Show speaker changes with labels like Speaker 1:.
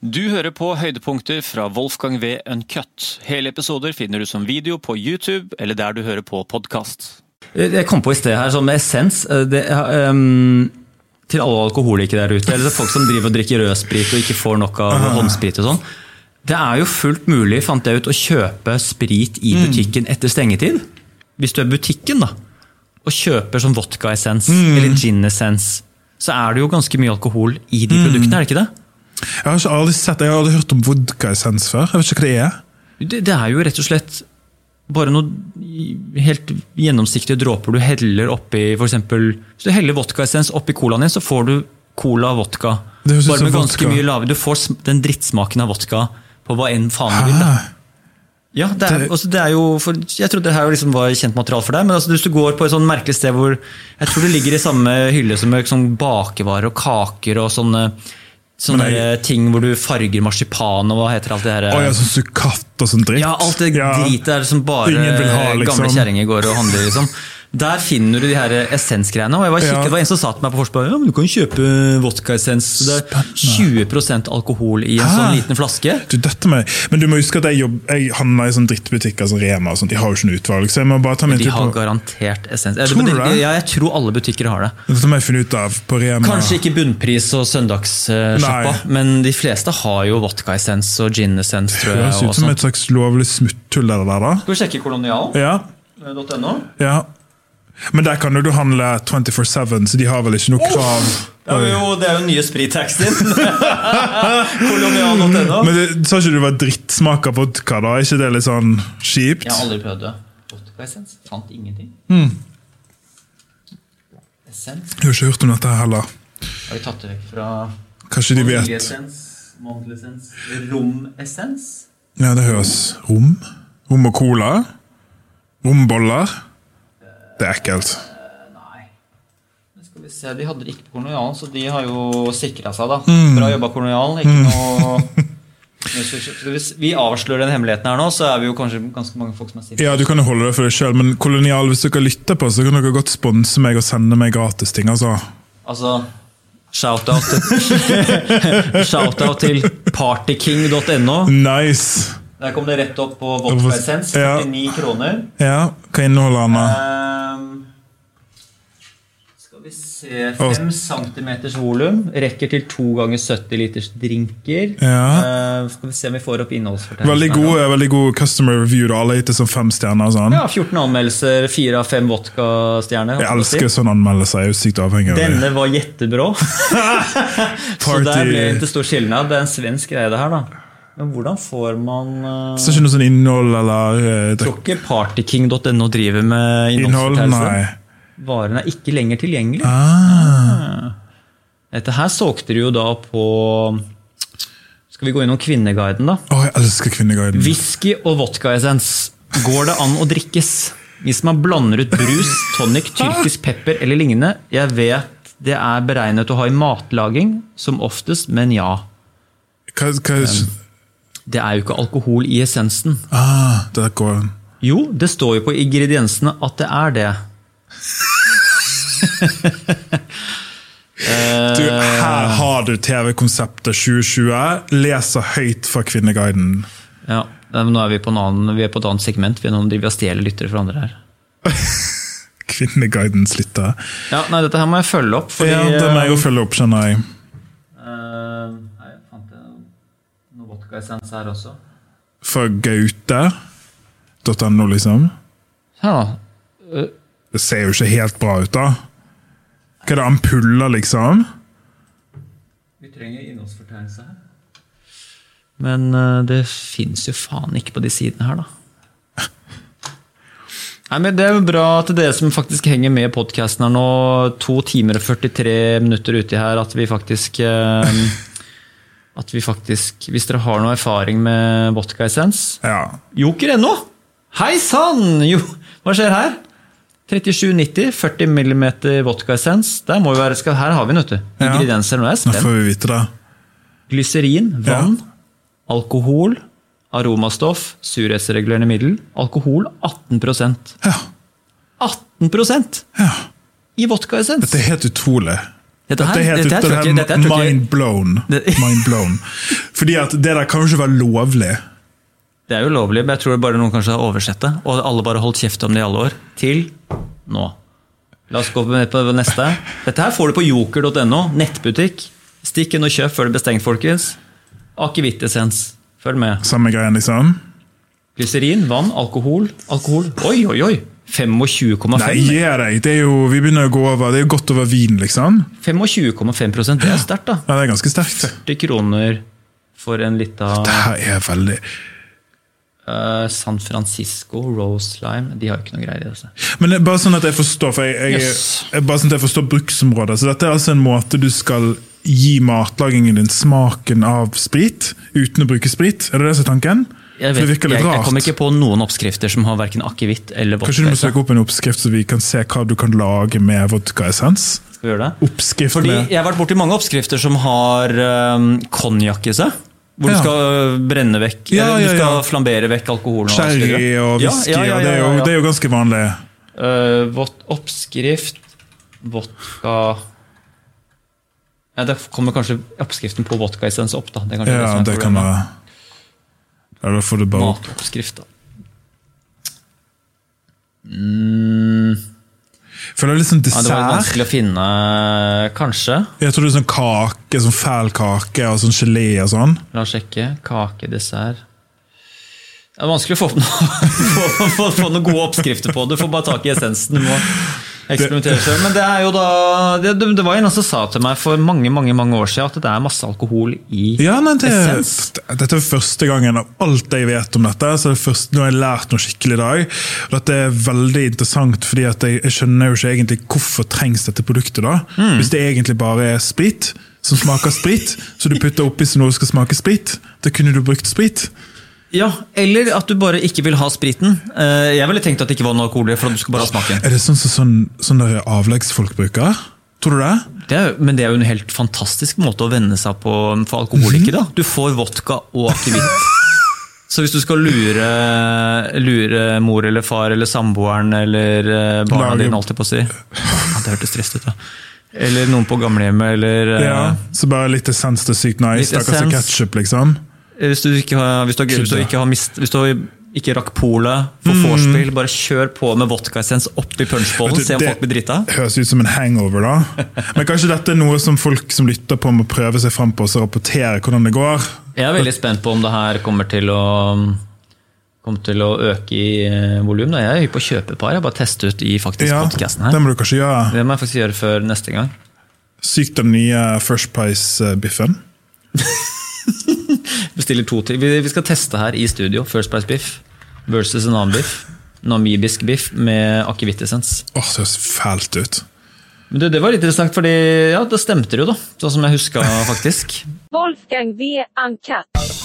Speaker 1: Du hører på høydepunkter fra Wolfgang V. Uncut. Hele episoder finner du som video på YouTube eller der du hører på podkast.
Speaker 2: Jeg kom på i sted her, sånn med essens eh, det, eh, um, Til alle alkoholikere der ute, eller folk som driver og drikker rød sprit og ikke får nok av håndsprit og sånn. Det er jo fullt mulig, fant jeg ut, å kjøpe sprit i butikken etter stengetid. Hvis du er i butikken, da, og kjøper sånn vodkaessens eller ginessens, så er det jo ganske mye alkohol i de produktene, er det ikke det?
Speaker 3: Jeg har ikke aldri sett, jeg har aldri hørt om vodkaessens før. Jeg vet ikke hva det er.
Speaker 2: Det, det er jo rett og slett bare noen helt gjennomsiktige dråper du heller oppi for eksempel, Hvis du heller vodkaessens oppi colaen din, så får du cola og vodka.
Speaker 3: Det høres ut
Speaker 2: Bare
Speaker 3: som
Speaker 2: med ganske
Speaker 3: vodka.
Speaker 2: mye lave. Du får sm- den drittsmaken av vodka på hva enn faen du vil. da.
Speaker 3: Ah,
Speaker 2: Ja, det er,
Speaker 3: Det-
Speaker 2: altså, det er jo for, Jeg trodde det her liksom var kjent materiale for deg, men altså, hvis du går på et sånn merkelig sted hvor Jeg tror det ligger i samme hylle som liksom, bakevarer og kaker og sånne, sånne
Speaker 3: Men jeg-
Speaker 2: der ting hvor du farger marsipan og hva heter alt det her?
Speaker 3: Å ja, sånn sukatt og sånn dritt.
Speaker 2: Ja, alt det
Speaker 3: Ja.
Speaker 2: dritet er som bare
Speaker 3: Ingen vil ha, liksom.
Speaker 2: gamle kjerringer går og handler. liksom. Der finner du de her essensgreiene. og jeg var kikket,
Speaker 3: Ja.
Speaker 2: Det var en som sa til meg på Forsberg ja, men du kan kjøpe vodkaessens. så Det er 20 alkohol i en
Speaker 3: Hæ?
Speaker 2: sånn liten flaske.
Speaker 3: Du, dette med, men du må huske at jeg, jobb, jeg handler i sånne drittbutikker som Rema. og sånt. De har jo ikke noe utvalg. så jeg må bare ta min
Speaker 2: De
Speaker 3: tid
Speaker 2: har
Speaker 3: på...
Speaker 2: garantert essens. Eh,
Speaker 3: Tror du
Speaker 2: butik-
Speaker 3: det?
Speaker 2: Ja, jeg tror alle butikker har det.
Speaker 3: Dette må jeg finne ut av på Rema.
Speaker 2: Kanskje ikke bunnpris og søndagssjappa, men de fleste har jo vodkaessens og ginessens.
Speaker 3: Det
Speaker 2: tror
Speaker 3: høres
Speaker 2: jeg.
Speaker 3: ut
Speaker 2: og
Speaker 3: som
Speaker 2: sånt.
Speaker 3: et slags lovlig smutthull. det der, da.
Speaker 2: Skal vi sjekke kolonial.no?
Speaker 3: Ja, ja. Men der kan jo du handle 24-7, så de har vel ikke noe krav.
Speaker 2: Ja, men jo, det er jo nye sprittaxien! kolonial.no.
Speaker 3: Men det, Sa ikke du det var drittsmak av vodka? da? Er ikke det litt sånn kjipt?
Speaker 2: Jeg har aldri prøvd det. Vodkaessens? Fant ingenting.
Speaker 3: Hmm.
Speaker 2: Essens?
Speaker 3: Jeg har ikke hørt om dette her heller.
Speaker 2: Har de tatt det vekk fra
Speaker 3: Kanskje de vet
Speaker 2: vaniljeessens, mandelessens, romessens?
Speaker 3: Ja, det høres Rom? Rom og cola? Romboller? Det er ekkelt.
Speaker 2: Nei. Men skal vi se, De hadde det ikke på kolonialen, så de har jo sikra seg, da.
Speaker 3: Hmm.
Speaker 2: Bra jobba, kolonialen. Ikke noe Men så- så Hvis vi avslører den hemmeligheten her nå, så er vi jo kanskje ganske mange folk som er single.
Speaker 3: Ja, Du kan jo holde det for deg sjøl, men Kolonial, hvis dere lytter på, så kan dere godt sponse meg og sende meg gratis ting. altså.
Speaker 2: Altså Shout-out shout til partyking.no.
Speaker 3: Nice!
Speaker 2: Der kom det rett opp på vodkaessens.
Speaker 3: Ja.
Speaker 2: 49 kroner.
Speaker 3: Ja, Hva inneholder den? da?
Speaker 2: Ehm, skal vi se 5 centimeters volum. Rekker til 2 ganger 70 liters drinker.
Speaker 3: Ja.
Speaker 2: Ehm, skal vi se om vi får opp innholdsfortegnelsen.
Speaker 3: Veldig
Speaker 2: her nå.
Speaker 3: god, veldig god customer review. da. Alle har gitt det som fem stjerner. og sånn.
Speaker 2: Ja, 14 anmeldelser, 4 av 5 vodkastjerner.
Speaker 3: Jeg elsker sånn anmeldelser. Jeg er jo sykt avhengig av det.
Speaker 2: Denne var jettebra. Så der ble det
Speaker 3: Party.
Speaker 2: ikke stor skilnad. Det er en svensk greie, det her, da. Men hvordan får man uh,
Speaker 3: Så ikke noe sånn innhold eller eh,
Speaker 2: Tror ikke partyking.no driver med
Speaker 3: innhold? Nei.
Speaker 2: innholdsfortegnelse. Varene er ikke lenger tilgjengelig. Ah. Dette her solgte de jo da på Skal vi gå innom Kvinneguiden, da?
Speaker 3: Å, jeg elsker Kvinneguiden.
Speaker 2: Whisky og vodkaessens. Går det an å drikkes? Hvis man blander ut brus, tonic, tyrkisk pepper eller lignende. Jeg vet det er beregnet å ha i matlaging, som oftest, men ja.
Speaker 3: Hva, hva,
Speaker 2: Det er jo ikke alkohol i essensen.
Speaker 3: ah, det der går
Speaker 2: Jo, det står jo på ingrediensene at det er det.
Speaker 3: Du, her har du TV-konseptet 2020. Leser høyt fra Kvinneguiden.
Speaker 2: Ja, men Nå er vi på, en annen, vi er på et annet segment. Vi er noen driver og stjeler lyttere fra andre her.
Speaker 3: Kvinneguidens lyttere.
Speaker 2: Ja, nei, Dette her må jeg følge opp. Fordi,
Speaker 3: Ja, det må jeg jo følge opp, skjønner jeg.
Speaker 2: Eh, nei, jeg fant jeg noe vodkaessens her også.
Speaker 3: Fra gaute.no, liksom.
Speaker 2: Ja,
Speaker 3: Det ser jo ikke helt bra ut, da. Hva er det, ampuller, liksom?
Speaker 2: vi trenger innholdsfortegnelse her. Men eh, det fins jo faen ikke på de sidene her, da. Nei, men Det er jo bra at dere som faktisk henger med i podkasten her nå, to timer og 43 minutter uti her, at vi faktisk eh, At vi faktisk Hvis dere har noe erfaring med vodkaessens,
Speaker 3: Ja.
Speaker 2: Joker.no. Hei sann! Jo, hva skjer her? 37,90, 40 mm vodkaessens. Der må vi være, skal, her har vi den, vet du.
Speaker 3: Ja.
Speaker 2: Ingredienser. Nå er jeg
Speaker 3: Nå
Speaker 2: spent.
Speaker 3: får vi vite det.
Speaker 2: Glyserin, vann,
Speaker 3: Ja.
Speaker 2: alkohol, aromastoff, surhetsregulerende middel. Alkohol 18 18
Speaker 3: Ja.
Speaker 2: i vodkaessens!
Speaker 3: Det er helt utrolig.
Speaker 2: Dette her-
Speaker 3: Dette er helt
Speaker 2: dette her
Speaker 3: dette
Speaker 2: tror jeg ikke- dette her tror jeg ikke-
Speaker 3: mind blown.
Speaker 2: Det-
Speaker 3: Mind blown. Fordi at det der kan jo ikke være lovlig.
Speaker 2: Det er ulovlig, men jeg tror bare noen kanskje har oversett det. Og alle bare holdt kjeft om det i alle år. Til nå. La oss gå med på neste. Dette her får du på joker.no. Nettbutikk. Stikk inn og kjøp før det blir stengt, folkens. Akevittessens. Følg med.
Speaker 3: Samme greien, liksom.
Speaker 2: Glyserin, vann, alkohol. Alkohol. Oi, oi, oi! 25,5
Speaker 3: Nei, gi deg! Det er jo, vi begynner å gå over. Det er jo godt over vin, liksom.
Speaker 2: 25,5 prosent, Det er sterkt, da.
Speaker 3: Ja, det er ganske sterkt.
Speaker 2: 40 kroner for en lita
Speaker 3: Det her er veldig
Speaker 2: eh, San Francisco Rose Lime. De har jo ikke noe greier i det. altså.
Speaker 3: Men det er bare sånn at jeg forstår for jeg, jeg,
Speaker 2: Yes.
Speaker 3: jeg, bare sånn at jeg forstår bruksområdet. Så dette er altså en måte du skal gi matlagingen din smaken av sprit, uten å bruke sprit? Er det det som er tanken?
Speaker 2: Jeg, vet,
Speaker 3: for det virker litt
Speaker 2: jeg, jeg
Speaker 3: rart.
Speaker 2: kommer ikke på noen oppskrifter som har verken akevitt eller vodka.
Speaker 3: Kanskje du må
Speaker 2: i seg.
Speaker 3: søke opp en oppskrift, så vi kan se hva du kan lage med vodkaessens?
Speaker 2: Skal vi gjøre det?
Speaker 3: Oppskrift
Speaker 2: Fordi
Speaker 3: med
Speaker 2: jeg har vært borti mange oppskrifter som har øhm, konjakk i seg. Hvor
Speaker 3: Ja.
Speaker 2: du skal brenne vekk
Speaker 3: Ja,
Speaker 2: eller
Speaker 3: ja,
Speaker 2: Du
Speaker 3: ja.
Speaker 2: skal flambere vekk alkoholen. og alt
Speaker 3: sherry
Speaker 2: videre.
Speaker 3: og
Speaker 2: Ja,
Speaker 3: whisky,
Speaker 2: ja, ja,
Speaker 3: og det
Speaker 2: ja,
Speaker 3: er jo,
Speaker 2: ja.
Speaker 3: det er jo ganske vanlig.
Speaker 2: Øh, vått oppskrift Vodka ja, Det kommer kanskje oppskriften på vodkaessens opp, da. Det er kanskje
Speaker 3: Ja,
Speaker 2: som er
Speaker 3: det kan
Speaker 2: problemet.
Speaker 3: være Ja, da får du bare opp.
Speaker 2: Matoppskrift, da.
Speaker 3: Føler det er litt sånn
Speaker 2: Ja, det var
Speaker 3: dessert.
Speaker 2: vanskelig å finne, kanskje.
Speaker 3: Jeg tror det er sånn kake, sånn fæl kake og sånn gelé og sånn.
Speaker 2: La oss sjekke. Kake, dessert Det er vanskelig å få, opp noe, få, få, få noen gode oppskrifter på det. Får bare tak i essensen. Du må eksperimentere selv. Men det er jo da det, det det var en som sa til meg for mange mange, mange år siden at det er masse alkohol i
Speaker 3: Ja, nei, det,
Speaker 2: essens.
Speaker 3: dette er første gangen av alt jeg vet om dette. så det er først, Nå har jeg lært noe skikkelig i dag. og Dette er veldig interessant, fordi at jeg, jeg skjønner jo ikke egentlig hvorfor trengs dette produktet. da.
Speaker 2: Mm.
Speaker 3: Hvis det egentlig bare er sprit som smaker sprit, så du putter oppi som noe skal smake sprit, da kunne du brukt sprit.
Speaker 2: Ja, Eller at du bare ikke vil ha spriten. Eh, Jeg ville tenkt at det ikke var noe alkohol i det, for at du skulle bare ha smaken.
Speaker 3: Er det sånn som sånn, sånn der avleggsfolk bruker? Tror du det?
Speaker 2: Det er, jo- men det er jo en helt fantastisk måte å vende seg på for alkoholikere. da. Du får vodka og akevitt. Så hvis du skal lure, lure mor eller far eller samboeren eller eh, barna
Speaker 3: Lage-
Speaker 2: dine, alltid på å si ja, Det hørtes trist ut, da. Eller noen på gamlehjemmet, eller eh,
Speaker 3: Ja, Så bare litt essens til sykt nice.
Speaker 2: Litt
Speaker 3: Stakkars
Speaker 2: essens.
Speaker 3: ketsjup, liksom.
Speaker 2: Hvis du ikke har, hvis du har, hvis du ikke, har mist, hvis du ikke rakk polet for vorspiel, bare kjør på med vodkaessens oppi
Speaker 3: Mm. Vet
Speaker 2: punchbowlen,
Speaker 3: du,
Speaker 2: se om
Speaker 3: det
Speaker 2: folk blir drita.
Speaker 3: Høres ut som en hangover, da. Men kanskje dette er noe som folk som lytter på, må prøve seg fram på og så rapportere hvordan det går.
Speaker 2: Jeg er veldig spent på om det her kommer til å kommer til å øke i eh, volum. da. Jeg er hypp på å kjøpe et par. Jeg bare tester ut i faktisk
Speaker 3: Ja,
Speaker 2: podcasten her.
Speaker 3: det må du kanskje gjøre.
Speaker 2: Det må jeg faktisk gjøre før neste gang.
Speaker 3: Sykt den nye First Price-biffen.
Speaker 2: Bestiller to til. Vi, vi skal teste her i studio. First Price Biff versus en annen biff. Namibisk biff med akevittessens.
Speaker 3: Åh, det høres fælt ut.
Speaker 2: Men du, Det var litt interessant, fordi ja, det stemte det jo, da. Sånn som jeg huska, faktisk.
Speaker 4: Wolfgang V. Uncut.